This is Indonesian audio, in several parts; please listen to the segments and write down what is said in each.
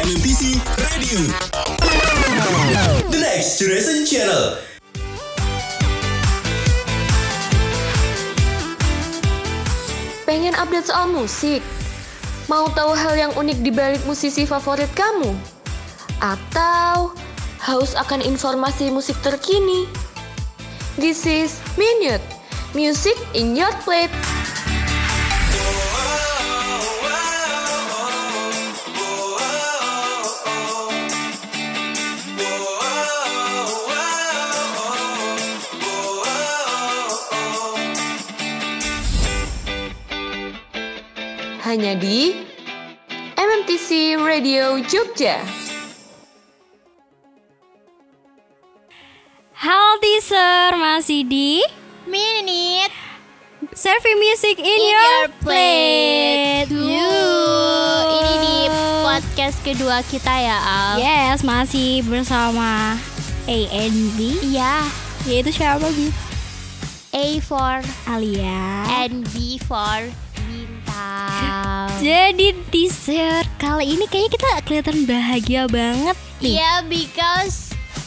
MMPC Radio. The Next Generation Channel. Pengen update soal musik? Mau tahu hal yang unik di balik musisi favorit kamu? Atau haus akan informasi musik terkini? This is Minute, Music in Your Plate. Hanya di MMTC Radio Jogja. Haltiser masih di Minute Serving Music in, Your Plate. Yuh, Yuh. Ini di podcast kedua kita ya Al Yes, masih bersama A and B. Iya Yaitu siapa B? A for Alia. and B for bintang Jadi teaser kali ini kayaknya kita kelihatan bahagia banget nih. Iya because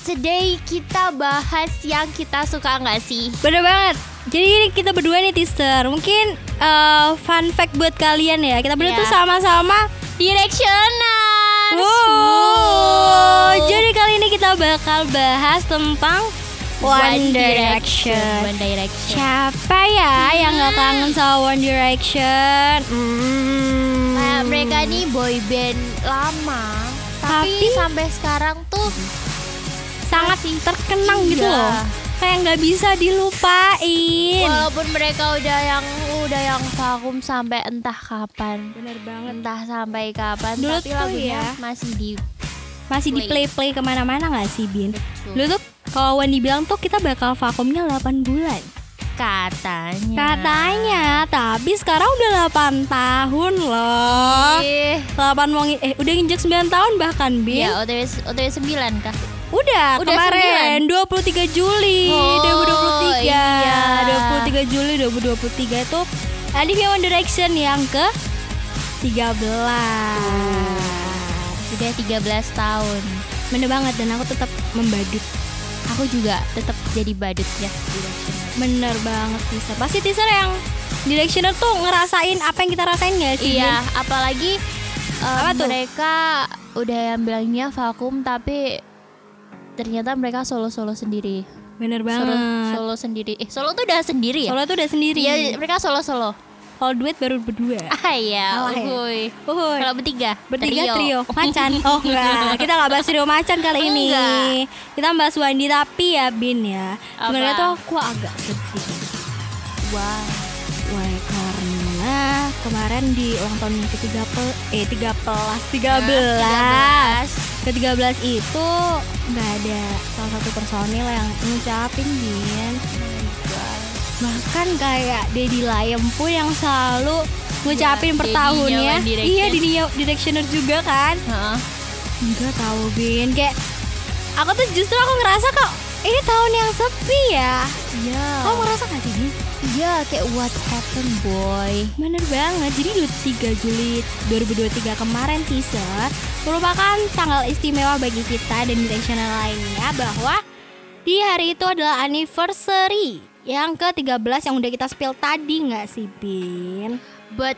today kita bahas yang kita suka nggak sih Bener banget. Jadi ini kita berdua nih teaser. Mungkin eh, fun fact buat kalian ya. Kita berdua Iya. tuh sama-sama Directioners Wow. Jadi kali ini kita bakal bahas tentang One Direction. One Direction Siapa ya yang nggak kangen sama One Direction? Hmm. Kayak Nah, mereka nih boy band lama tapi, Tapi- sampai sekarang tuh sangat terkenang gitu Iya. loh. Kayak nggak bisa dilupain. walaupun mereka udah yang udah yang vakum sampai entah kapan Bener banget. entah sampai kapan Dulu tapi tuh lagunya ya. masih di Masih di play play kemana-mana nggak sih Bin? Betul. Lu tuh kalau Wan dibilang tuh kita bakal vakumnya 8 bulan. Iya. katanya Katanya, tapi sekarang udah 8 tahun loh. Ih, 8 mau ngi- eh udah nginjek 9 tahun bahkan Bin. ya OTW s- OTW 9 kah Udah, Udah kemarin 23 Juli Oh, 2023. iya. 23 Juli 2023 itu Alifnya One Direction yang ke 13. sudah 13 tahun Bener banget dan aku tetap membadut. aku juga tetap jadi ya. Iya. badutnya Directioners. Bener banget teaser. Pasti teaser yang Directioner tuh ngerasain apa yang kita rasain gak sih? iya apalagi um, Apa tuh? mereka udah yang bilangnya vakum tapi ternyata mereka solo-solo sendiri Bin? Bener solo, banget. solo sendiri eh solo tuh udah sendiri ya Solo tuh udah sendiri. Iya, mereka solo-solo Kalau duet baru berdua. ah iya Salah ya? uhuy. Uhuy. Kalau bertiga, Bertiga trio. macan. Oh enggak, kita nggak bahas trio macan kali ini. Enggak. Kita bahas Wandi tapi ya Bin ya. Apa? Sebenarnya tuh aku agak sedih. Wah, Wah, karena kemarin di ulang tahun ke 13 eh 13 13 ke 13 itu nggak ada salah satu personil yang ngucapin Bin. Bahkan kayak Deddy Layem pun yang selalu ngucapin Iya, per Deddy-nya ya. tahunnya. One Direction. Iya, Deddy-nya Directioner juga kan. Heeh. Enggak tahu Bin kayak aku tuh justru aku ngerasa kok ini tahun yang sepi ya. Iya. Kamu ngerasa gak sih Bin? Iya, kayak what happened boy. Bener banget. Jadi 23 Juli 2023 kemarin teaser merupakan tanggal istimewa bagi kita dan directional lainnya bahwa di hari itu adalah anniversary yang ke-13 yang udah kita spill tadi nggak sih Bin? But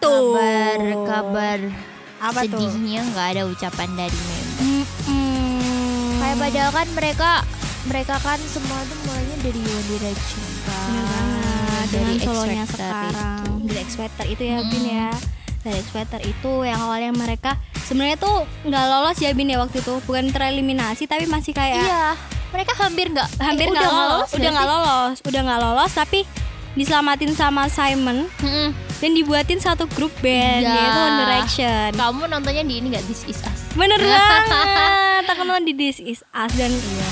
Tuh. kabar kabar Apa tuh? sedihnya nggak ada ucapan dari member. Mm-mm. Kayak padahal kan mereka mereka kan semua tuh mulanya dari One Direction kan. Bener banget Dari Ah, dengan solonya X Factor sekarang itu. Hmm. dari X Factor itu ya Bin ya dari X Factor itu yang awalnya mereka sebenarnya tuh nggak lolos ya Bin ya waktu itu bukan tereliminasi tapi masih kayak Iya, mereka hampir nggak hampir eh, nggak udah nggak lolos, udah nggak nggak lolos udah nggak lolos tapi diselamatin sama Simon sih? Mm-mm. dan dibuatin satu grup band Iya. yaitu One Direction Kamu nontonnya di ini nggak This Is Us? bener banget aku nonton di This Is Us dan iya.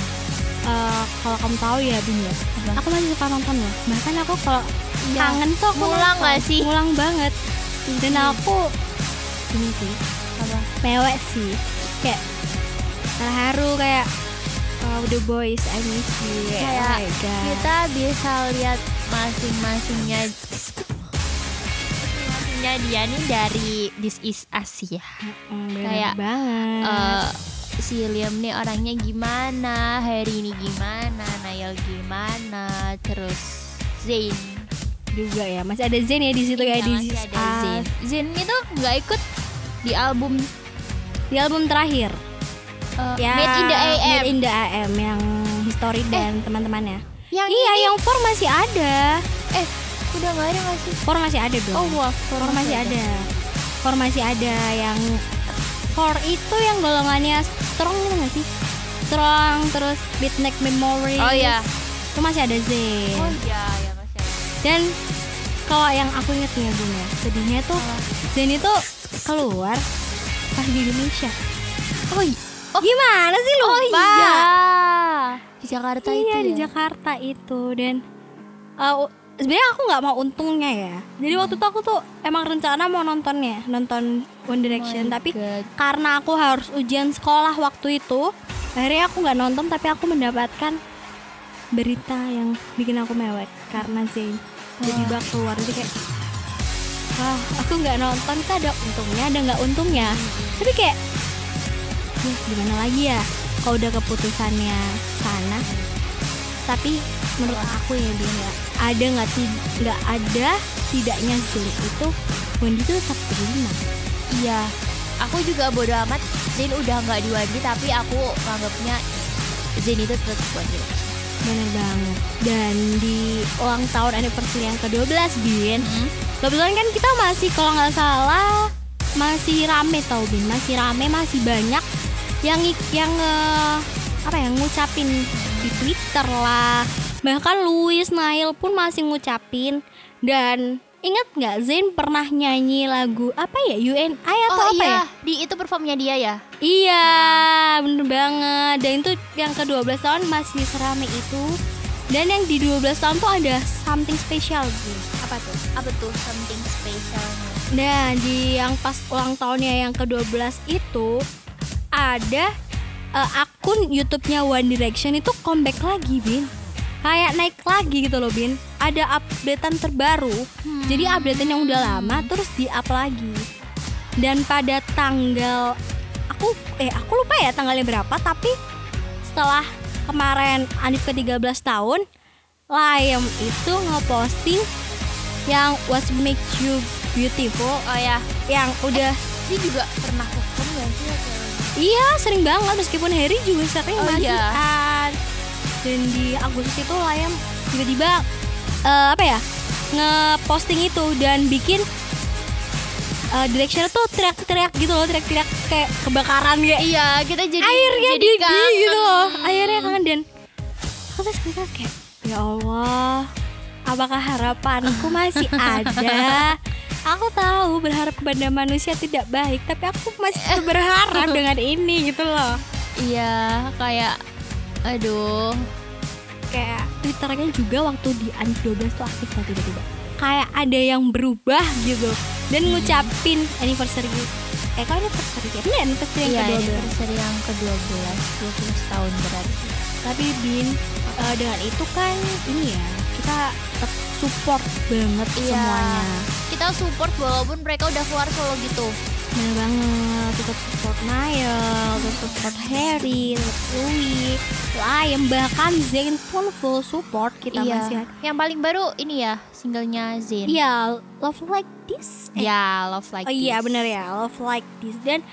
eh, kalau kamu tahu ya Bin ya aku masih suka nonton loh bahkan aku kalau Iya. kangen tuh aku Ngulang nonton. nggak sih? Iya ngulang banget dan aku ini sih Apa? mewek sih kayak terharu kayak uh, the boys I miss you kayak oh my God. kita bisa lihat masing-masingnya musiknya dia nih dari This Is Us ya. Kayak, banget. Eh, si Liam nih orangnya gimana, Harry ini gimana, Niall gimana, terus Zayn juga ya. Masih ada Zen ya di situ ya Iya, di masih This ada Is Zayn. Us. Zayn itu nggak ikut di album Di album terakhir. eh, Ya, Made in the AM. Made in the AM yang History dan teman-temannya. yang iya, ini- yang four masih ada. eh udah nggak ada nggak sih? Four masih ada dong. Oh wah, Four masih ada. Four masih ada yang Four itu yang golongannya strong gitu nggak sih? Strong terus Beatnik Memories. Oh iya. Itu masih ada Zayn. Oh iya, ya masih ada. Dan kalau yang aku inget nih ya Bun ya, sedihnya tuh Zayn itu keluar pas di Indonesia. Oh, gimana sih lupa? Oh iya. Di Jakarta itu Iya di ya? Jakarta itu dan uh, sebenarnya aku nggak mau untungnya ya. Jadi waktu itu aku tuh emang rencana mau nontonnya nonton One Direction Oh My tapi God. karena aku harus ujian sekolah waktu itu akhirnya aku nggak nonton tapi aku mendapatkan berita yang bikin aku mewek karena Zayn tiba-tiba keluar jadi kayak wah aku nggak nonton itu ada untungnya ada nggak untungnya tapi kayak ya gimana lagi ya kalau udah keputusannya sana tapi menurut aku ya dia nggak ada nggak ti- nggak ada tidaknya Zayn itu Wendy tuh tetap terima Iya. Aku juga bodo amat. Zain udah nggak di Wandi tapi aku nganggapnya Zain itu tetap Wandi. Bener banget Dan di ulang tahun anniversary yang ke-12 Bin Hmm? Kebetulan kan kita masih kalau nggak salah Masih rame tau Bin Masih rame, masih banyak Yang ngik- yang eh, apa ya ngucapin di Twitter lah Bahkan Louis Nail pun masih ngucapin Dan ingat nggak Zain pernah nyanyi lagu apa ya UNI atau apa Oh iya, ya? di itu performnya dia ya. Iya, bener banget. Dan itu yang ke-12 tahun masih serame itu. Dan yang di 12 tahun tuh ada something special gitu. Apa tuh? Apa tuh something special? Nah, di yang pas ulang tahunnya yang ke-12 itu ada eh, akun YouTube-nya One Direction itu comeback lagi, Bin. Kayak naik lagi gitu loh, Bin. Ada updatean terbaru. Jadi updatean yang udah lama terus di-up lagi. Dan pada tanggal aku eh aku lupa ya tanggalnya berapa, tapi setelah kemarin Anif ke-13 tahun, Liam itu ngeposting yang What Make You Beautiful Oh ya, yang udah dia juga pernah hukum gak sih? iya sering banget meskipun Harry juga sering Oh, iya. masihan. dan di Agustus itu Liam tiba-tiba eh, apa ya ngeposting itu dan bikin eh, directioner tuh teriak-teriak gitu loh teriak-teriak kayak kebakaran Eh, kayak Iya, kita jadi airnya jadi di di kangen. gitu loh airnya kangen dan aku terus mikir kayak ya Allah apakah harapanku masih ada aku tahu berharap kepada manusia tidak baik tapi aku masih tetap berharap dengan ini gitu loh Iya, kayak aduh. kayak twitternya juga waktu di Anif 12 tuh aktif lah tiba-tiba kayak ada yang berubah gitu dan ngucapin anniversary eh kalau anniversary ya bener anniversary yang Iya, ke-12 anniversary yang ke-12, 12 tahun berarti. Tapi Bin, eh, dengan itu kan ini ya, kita tetap support banget Iya. semuanya. Kita support walaupun mereka udah keluar solo gitu. Bener banget, tetap support Nael, tetap support Harry, tetap Louis, Liam, bahkan Zayn pun full support kita Iya. masih ada. Yang paling baru ini ya, singlenya Zayn. Iya, Love Like This. Eh, Ya, Love Like oh iya This. bener ya, Love Like This. Dan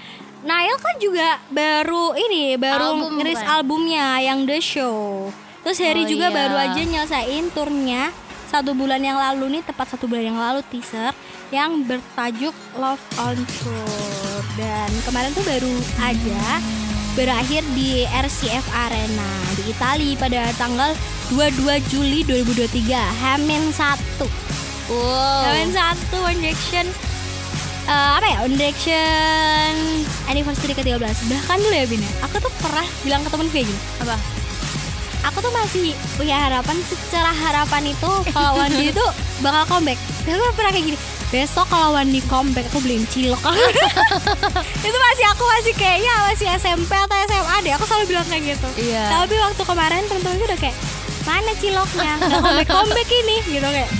Nael kan juga baru ini, baru Album, ngeris bukan? albumnya yang The Show. Terus Oh, Harry iya. juga baru aja nyelesain turnya satu bulan yang lalu nih, tepat satu bulan yang lalu teaser yang bertajuk Love on Tour. Dan kemarin tuh baru aja berakhir di RCF Arena di Italia pada tanggal 22 Juli 2023, Hamin 1. Wow. Kamen satu One Direction eh, apa ya One Direction anniversary ke-13 bahkan dulu ya Bina aku tuh pernah bilang ke temen gue gini Apa? aku tuh masih punya harapan secara harapan itu kalau Wandi itu bakal comeback tapi aku pernah kayak gini besok kalau Wandi comeback aku beliin cilok itu masih aku masih kayaknya masih SMP atau SMA deh aku selalu bilang kayak gitu Iya. tapi waktu kemarin temen-temen gue udah kayak mana ciloknya nggak comeback comeback ini gitu kayak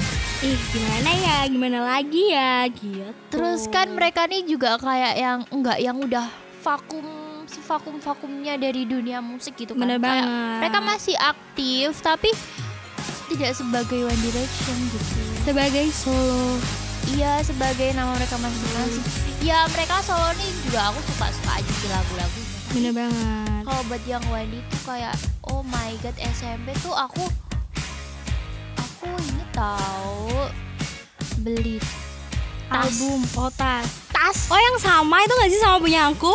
Ih gimana ya, gimana lagi ya gitu. Terus kan mereka nih juga kayak yang enggak yang udah vakum sevakum vakumnya dari dunia musik gitu kan. Bener Kayak banget. mereka masih aktif tapi tidak sebagai One Direction gitu. sebagai solo. Iya sebagai nama mereka masing-masing. Ya mereka solo nih juga aku suka suka aja sih lagu-lagunya. Bener banget. Kalau buat yang Wendy tuh kayak oh my god SMP tuh aku aku ini tahu beli Tas. Album Otas. tas Oh yang sama itu gak sih sama punya aku?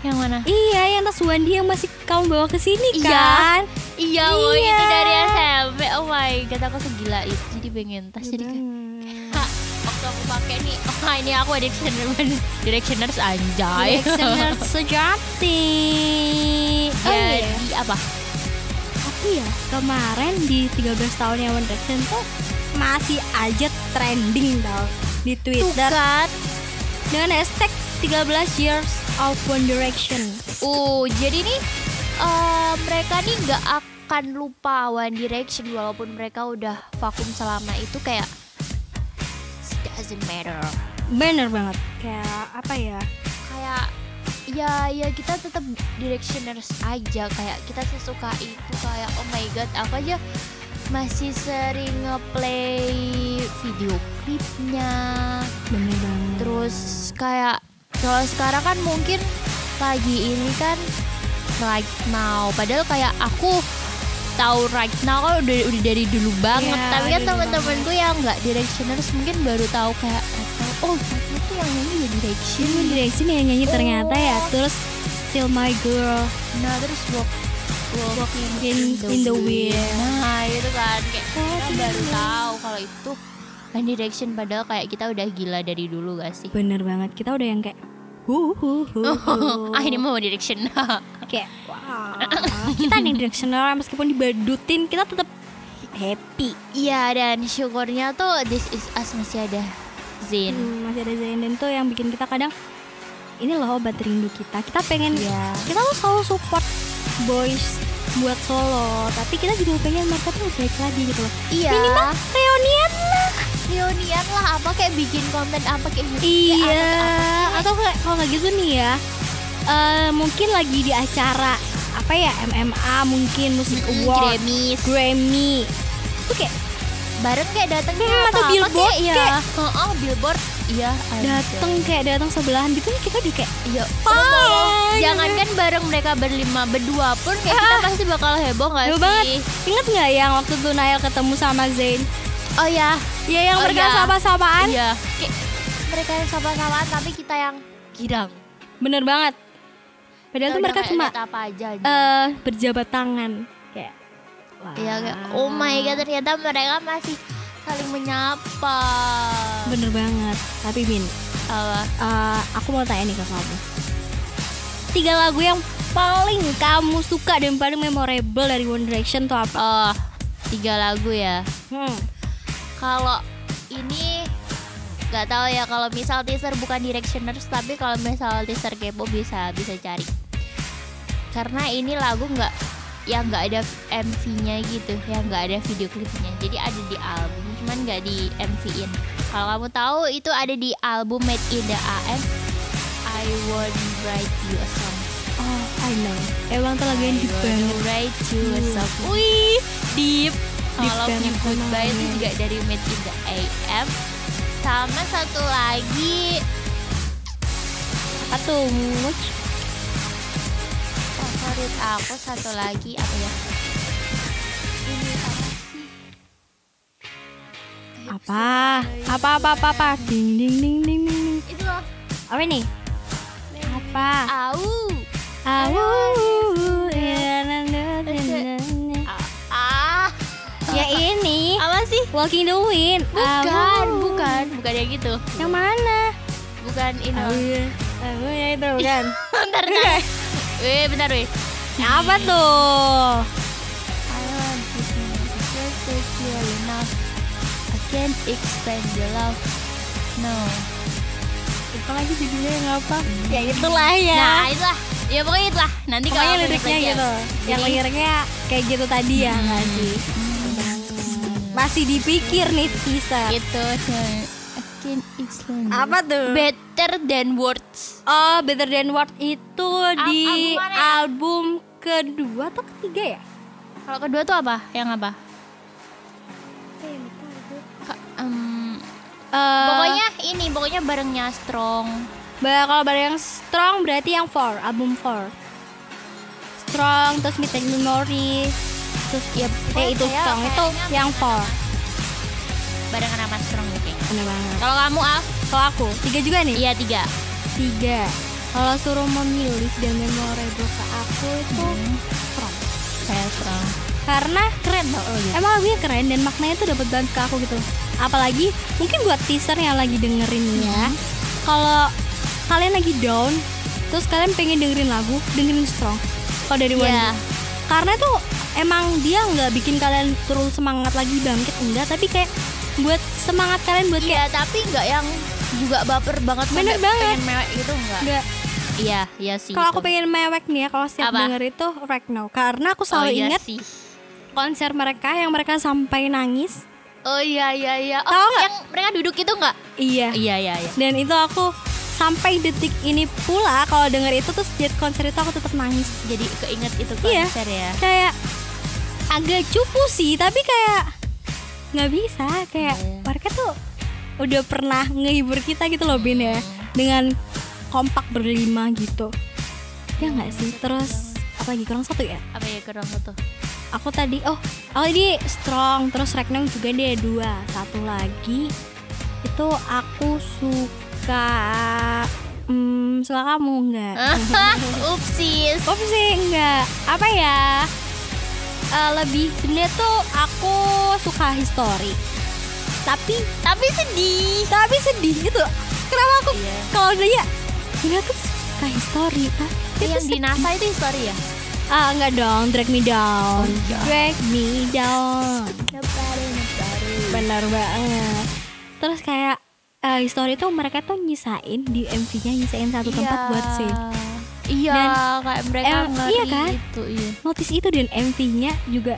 yang mana? Iya yang tas Wandi yang masih kamu bawa ke sini Iya. kan? Iya, woy, Iya. itu dari SMP. Oh my god, aku segila itu. Jadi pengen tas jadi kan kayak Kak, waktu aku pakai nih. Oh, ini aku directioner directioners anjay. Alexander Iya. sejati. Oh Jadi iya. apa? Tapi ya kemarin di 13 tahunnya One Direction tuh masih aja trending tau di Twitter Tukat. dengan hashtag 13 years of One Direction. Uh, jadi nih eh, mereka nih nggak akan lupa One Direction walaupun mereka udah vakum selama itu kayak it doesn't matter. Bener banget. Kayak apa ya? Kayak ya ya kita tetap directioners aja kayak kita sesuka itu kayak oh my god aku aja masih sering ngeplay video klipnya Bener banget. Terus kayak kalau sekarang kan mungkin pagi ini kan right now. Padahal kayak aku tahu right now kan udah udah dari dulu banget. Iya, Tapi kan dari teman-temanku yang nggak directioners mungkin baru tahu kayak oh ternyata tuh yang nyanyi ya direction. One Direction yang nyanyi ternyata ya. Terus Still My Girl. Nah terus walk walking in- in the Oh, iya, wind. Nah itu kan kayak kita baru tahu kalau itu One Direction padahal kayak kita udah gila dari dulu gak sih? Bener banget. Kita udah yang kayak hu hu hu. hu. ah ini mah One Direction. kayak wow. kita nih directional meskipun dibadutin kita tetap happy. Iya dan syukurnya tuh This Is Us masih ada Zain Hmm, masih ada Zain dan tuh yang bikin kita kadang ini loh obat rindu kita. Kita pengen Iya kita tuh selalu support boys buat solo, tapi kita juga pengen mereka tuh baik lagi gitu loh. Iya Minimal reunian lah. Reunian lah apa kayak bikin konten apa kayak gitu Iya. Atau kayak- kalau nggak gitu nih ya, eh, mungkin lagi di acara apa ya MMA mungkin musik Mm, award, Grammys Grammy. Itu kayak Bareng kayak dateng Hmm, atau billboard ya kayak. Oh billboard Iya ada. dateng kayak datang sebelahan gitu nih kita udah kayak Iya Bye. Jangankan bareng mereka berlima Berdua pun kayak kita pasti bakal heboh gak Ah. Heboh sih banget. Ingat nggak yang waktu tuh Nail ketemu sama Zain? Oh ya Ya yang Oh, mereka iya. sapa-sapaan. Iya Kayak mereka yang sama-samaan tapi kita yang girang Bener banget. Padahal Kita tuh udah mereka kayak cuma liat "Eh, apa aja anjing. eh berjabat tangan. Kayak wah. Iya kayak oh my god ternyata mereka masih saling menyapa. Bener banget. Tapi Min, Apa? eh, aku mau tanya nih ke kamu. Tiga lagu yang paling kamu suka dan paling memorable dari One Direction tuh apa? Oh, tiga lagu ya. Hmm. Kalau ini nggak tahu ya kalau misal teaser bukan directioners tapi kalau misal teaser kepo bisa bisa cari karena ini lagu nggak yang nggak ada MV-nya gitu yang nggak ada video klipnya jadi ada di album cuman nggak di MV-in kalau kamu tahu itu ada di album Made in the AM I won't write you a song Oh, I know. Emang tuh lagu yang deep banget. Right to a Hmm. song. Wih, deep. Kalau banget You Goodbye itu namanya. juga dari Made in the AM. Sama satu lagi Apa tuh? Much? favorit aku satu lagi apa ya? Ini apa sih? Apa? Apa apa apa apa? Ding ding ding ding ding. ding. Itu loh. Apa nih? Apa? Au. Awu. Ah, Ya ini apa sih? Walking the Wind. Bukan, Awu. bukan, bukan yang gitu. Yang mana? Oh. Bukan ini. Awu. Awu ya itu bukan. bentar, bentar. Weh, bentar, weh. Apa tuh? I want this man is perfect you're enough. I can't explain your love. No. Lupa lagi judulnya yang apa? Ya itulah ya. Nah, itulah. Ya pokoknya gitu. itulah. Nanti kalau Pokoknya aku liriknya dapat ya. gitu. Yang Jadi- liriknya kayak gitu tadi ya nggak sih? Hmm, Masih dipikir nih teaser. Gitu. Akin Islam. Apa tuh? Better than words. Oh, Better Than Words itu di album mana ya? album kedua atau ketiga ya? Kalau kedua tuh apa? Yang apa? Ka- em, Eh, pokoknya ini, pokoknya barengnya strong. ba- kalau barang yang strong berarti yang four, album four. Strong terus Midnight Memory terus ya eh, itu kayak- strong itu kayaknya yang four. Barengan sama strong gitu. Bener banget. Kalau kamu Af, Kalau aku tiga juga nih. iya tiga. Tiga. Kalau suruh memilih dan memorable ke aku itu strong. Saya strong. Karena keren loh. Oh, iya. Emang lagunya keren dan maknanya tuh dapat banget ke aku gitu. loh. Apalagi mungkin buat teaser yang lagi dengerin nih ya. Hmm. Kalau kalian lagi down, terus kalian pengen dengerin lagu, dengerin strong. Kalau dari One Iya. Direction. Karena tuh emang dia nggak bikin kalian terus semangat lagi bangkit enggak, tapi kayak buat semangat kalian buat kayak Iya, tapi nggak yang juga baper banget Bener sampai banget. pengen mewek gitu enggak. nggak Iya, iya sih. Kalau aku itu. pengen mewek nih ya kalau setiap Apa? denger itu Right Now Karena aku Oh selalu iya inget sih. konser mereka yang mereka sampai nangis Oh iya iya iya. Oh, Tahu nggak? yang mereka duduk itu enggak? Iya Iya iya iya. Dan itu aku sampai detik ini pula kalau denger itu terus di konser itu aku tetap nangis Jadi keinget itu Iya. konser ya. Kayak agak cupu sih tapi kayak nggak bisa Kayak Iya. mereka tuh udah pernah ngehibur kita gitu loh Bin Iya. ya Dengan kompak berlima gitu Ya nggak sih terus apalagi kurang satu ya Apa ya kurang satu? aku tadi oh oh ini strong terus Regnum juga dia ada dua satu lagi itu aku suka hmm, suka kamu enggak Upsis. kok sih enggak apa ya Eh, lebih sebenarnya tuh aku suka history tapi Tapi sedih. tapi sedih gitu kenapa aku kalau dia dia tuh suka history tapi itu Yang di NASA itu history ya? ah enggak dong drag me down drag me down Bener banget. Terus kayak eh, history itu mereka tuh nyisain di MV-nya nyisain satu tempat buat save. Iya, Dan kayak mereka em- ngeri iya kan? itu, iya. Notice itu dan MV-nya juga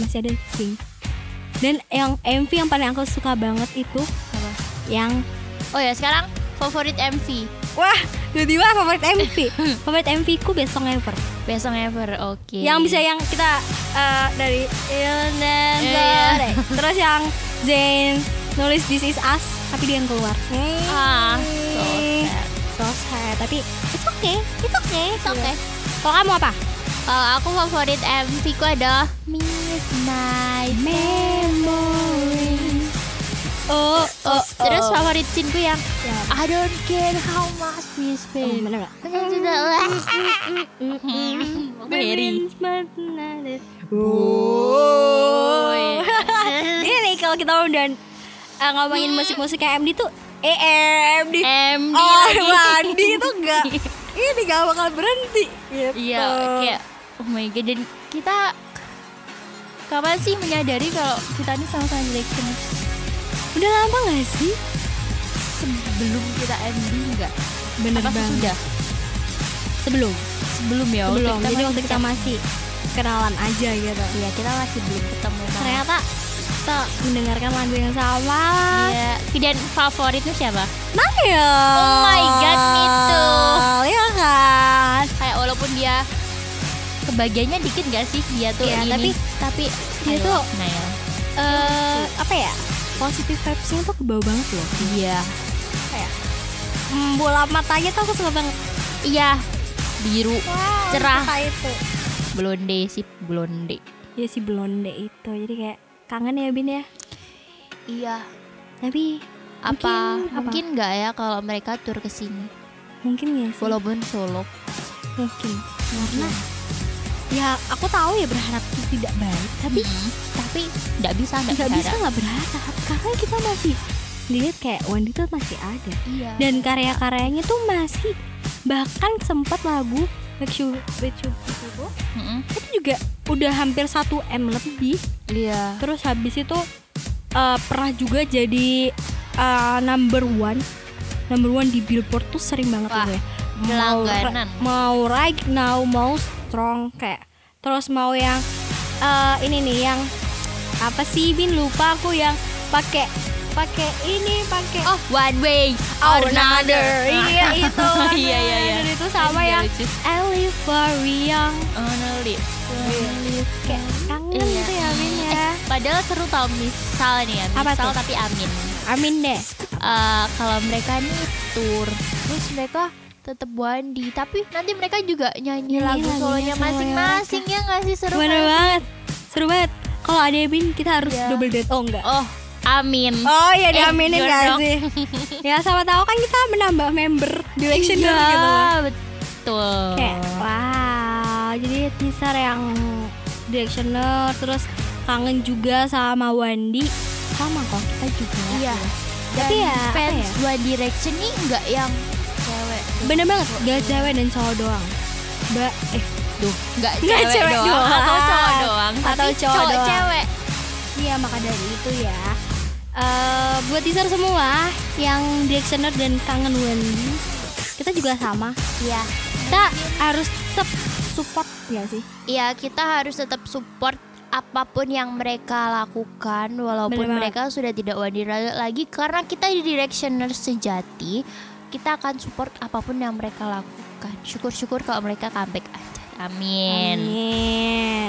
masih ada sing. Dan yang MV yang paling aku suka banget itu Apa? yang Oh ya, sekarang favorit MV. wah tiba-tiba favorit MV favorit MV ku Best Song Ever Besok ever, oke. yang bisa yang kita eh, dari Illness Iya, iya. terus yang Zayn nulis This Is Us tapi dia yang keluar Ah, so sad. so sad tapi it's okay It's okay, it's okay. kalau kamu apa Eh, aku favorit MV ku adalah Midnight Memories. Oh, oh, Terus favorit scene ku yang Ya. I don't care how much we Hmm, spend. Mm, bener gak? Mm-hmm. Harry. Ini nih kalau kita udah uh, ngomongin musik-musik kayak MD tuh Eh, eh, MD MD Oh, lagi. Wandi itu enggak Ini gak bakal berhenti gitu. Iya, kayak oh my god dan kita kapan sih menyadari kalau kita ini sama-sama directioners Udah lama gak sih? sebelum kita MD enggak? Bener Apa banget sudah? Sebelum Sebelum ya. waktu Sebelum, kita jadi masih waktu kita masih kenalan aja gitu Iya, kita masih belum ketemu banget. Ternyata kita mendengarkan lagu yang sama Iya, dan favoritnya siapa? Nail Oh my God, me too. Nah, ya. Iya kan Kayak walaupun dia kebagiannya dikit gak sih dia tuh Iya, ini. tapi- tapi dia I tuh- love Nail. eh apa ya positif vibesnya tuh kebawa banget loh Iya. hmm, bola matanya tuh aku suka banget Iya. Biru, cerah, suka itu blonde sih, blonde. ya si blonde itu jadi kayak kangen ya Bin ya Iya. tapi Apa Mungkin- apa? mungkin nggak ya kalau mereka tur ke sini? mungkin ya sih Walaupun solo. mungkin karena ya aku tahu ya berharap itu tidak baik tapi Tapi nggak bisa nggak Iya, nggak bisa ada. nggak berharap karena kita masih lihat kayak Wandi tuh masih ada Iya. dan karya-karyanya tuh masih bahkan sempat lagu Make You Make You Beautiful Mm-mm. itu juga udah hampir 1 m lebih Iya. terus habis itu eh, pernah juga jadi eh, number one number one di billboard tuh sering banget Wah, tuh ya mau Langganan. mau right now mau strong kayak terus mau yang eh, ini nih yang apa sih Bin lupa aku yang pakai pakai ini pakai Oh, one way or Our Oh, another. iya itu Iya, iya, iya. Another itu sama ya. yang Lucu. I live for young Only. kayak kangen Iya. tuh ya Bin ya Padahal seru tau misal nih ya, Apa misal tuh? tapi amin. Amin deh Eh, kalau mereka nih tour, terus mereka tetap Wandi, tapi nanti mereka juga Nyanyi nyanyi lagu lagunya solonya solonya masing-masing ya nggak sih seru iya, Bener nggak? banget Seru banget Kalau ada Bin kita harus Iya. double date Oh enggak Oh, amin. Oh iya Eh, diaminin jorok. gak sih Ya sama tahu kan kita menambah member Directioner Iya, gitu betul. Kayak wow Jadi teaser yang Directioner Terus kangen juga sama Wandi Sama kok kita juga Iya. Tapi Dan ya, apa fans ya? One Direction nih nggak yang cewek. Bener banget Gak cewek dan cowok doang Mbak eh Duh, nggak Nggak cewek, cewek doang, atau doang. cowok doang, Atau tapi cowok doang. cewek. Iya maka dari itu ya eh, Buat teaser semua Yang Directioner dan kangen Wandi Kita juga sama Iya. Kita harus tetap support ya sih Iya, kita harus tetap support apapun yang mereka lakukan walaupun Bener banget. mereka sudah tidak wadir lagi karena kita di directioner sejati kita akan support apapun yang mereka lakukan syukur-syukur kalau mereka comeback aja amin, Amin.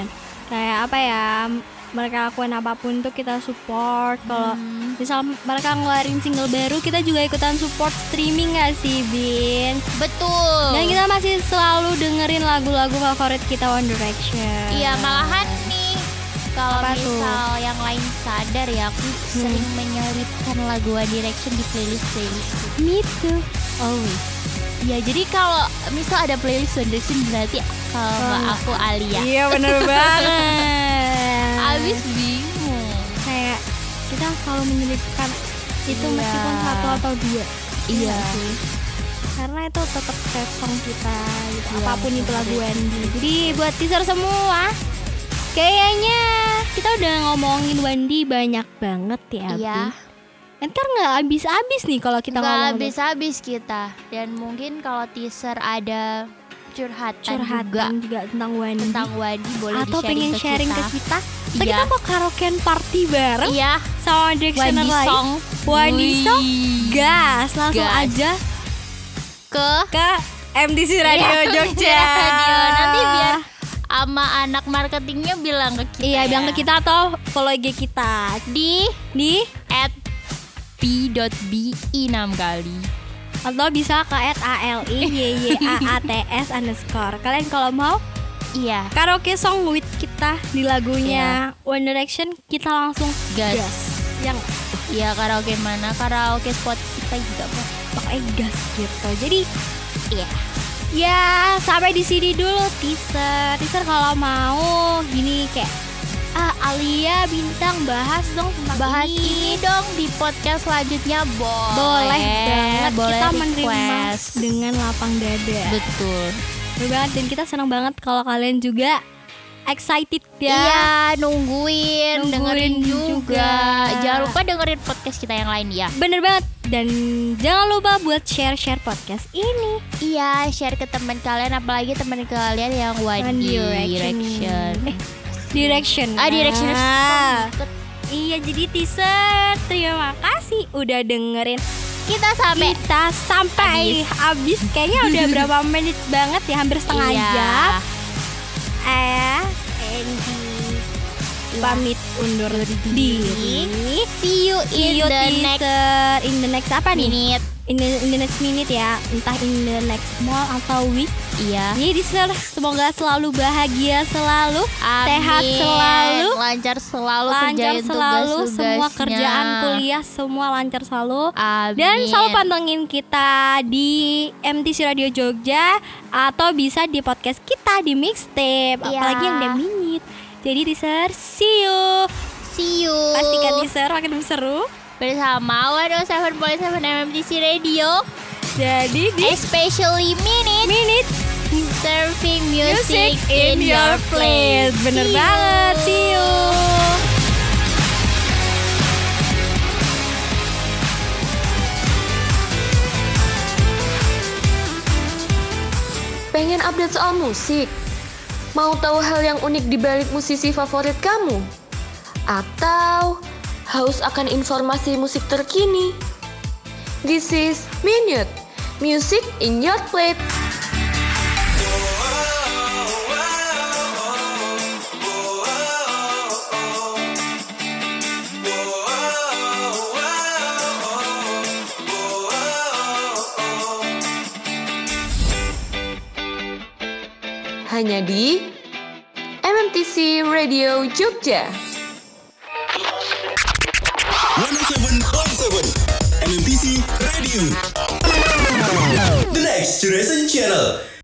Kayak apa ya? m- Mereka lakuin apapun tuh kita support. Kalau Hmm. misal mereka ngeluarin single baru, kita juga ikutan support streaming gak sih, Bin? betul Dan kita masih selalu dengerin lagu-lagu favorit kita One Direction. iya malahan nih kalau Apa tuh? misal yang lain sadar ya aku sering menyelipkan lagu One Direction di playlist playlist Me too. Oh, Always. ya jadi kalau misal ada playlist One Direction berarti kalau nggak nggak aku Alia Iya bener banget. Abis bingung. kayak kita selalu menyelipkan itu Iya. meskipun satu atau dua. Iya. nggak sih? karena itu tetap save song kita gitu. Iya, apapun betul, itu lagu betul. Wandi jadi buat teaser semua kayaknya kita udah ngomongin Wandi banyak banget ya Iya. Bi. ntar nggak habis-habis nih kalau kita Nggak ngomong habis-habis kita. Dan mungkin kalau teaser ada curhatan, curhatan kan, juga juga. tentang Wandi tentang Wadi boleh atau di-sharing pengen ke sharing kita. ke kita Atau Iya. kita mau karaokean party bareng Iya, sama Directioner Wadi Live Song. Wandi Wih. Song gas langsung Gas. aja ke ke MTC Radio Iya, Jogja Radio. Nanti biar sama anak marketingnya bilang ke kita. Iya, ya. bilang ke kita atau follow IG kita di di at p.bi 6 kali. atau bisa ke @aliyyats underscore. Kalian kalau mau Iya, karaoke song with kita di lagunya One Direction kita langsung gas. gas. Yang Iya, karaoke mana? Karaoke spot kita juga, Bos. pakai gas gitu. Jadi iya. Ya, sampai di sini dulu teaser. Teaser kalau mau gini kayak ah, Alia bintang bahas dong tentang bahas ini. ini, dong di podcast selanjutnya boleh boleh banget boleh kita menerima request. dengan lapang dada. betul Bener banget dan kita senang banget kalau kalian juga excited iya ya. nungguin, Nungguin dengerin juga. juga. jangan lupa dengerin podcast kita yang lain ya Bener banget dan jangan lupa buat share-share podcast ini. iya share ke teman kalian apalagi teman kalian yang one, One Direction. direction Eh, Direction. ah direction Iya jadi teaser. Terima kasih udah dengerin. kita sampai Kita sampai habis kayaknya udah berapa menit banget ya hampir setengah Iya. jam. Eh, Andy pamit undur diri. see you in See you the next teaser. in the next apa nih? minute in the, in the next minute ya entah in the next mall atau week iya jadi listener semoga selalu bahagia selalu sehat Amin. selalu lancar selalu lancar kerjain selalu semua tugas-tugasnya. kerjaan kuliah semua lancar selalu Amin. dan selalu pantengin kita di MTC Radio Jogja atau bisa di podcast kita di mixtape Iya. apalagi yang ada minute jadi teaser see you See you. pastikan teaser makin seru bersama 107.7 MMTC Radio, jadi di especially minute minute serving music, in your place. Bener See you. banget, see you. Pengen update soal musik? Mau tahu hal yang unik di balik musisi favorit kamu? atau haus akan informasi musik terkini. This is Minute, music in your plate. Hanya di MMTC Radio Jogja. 107.7 MMTC Radio The Next Generation Channel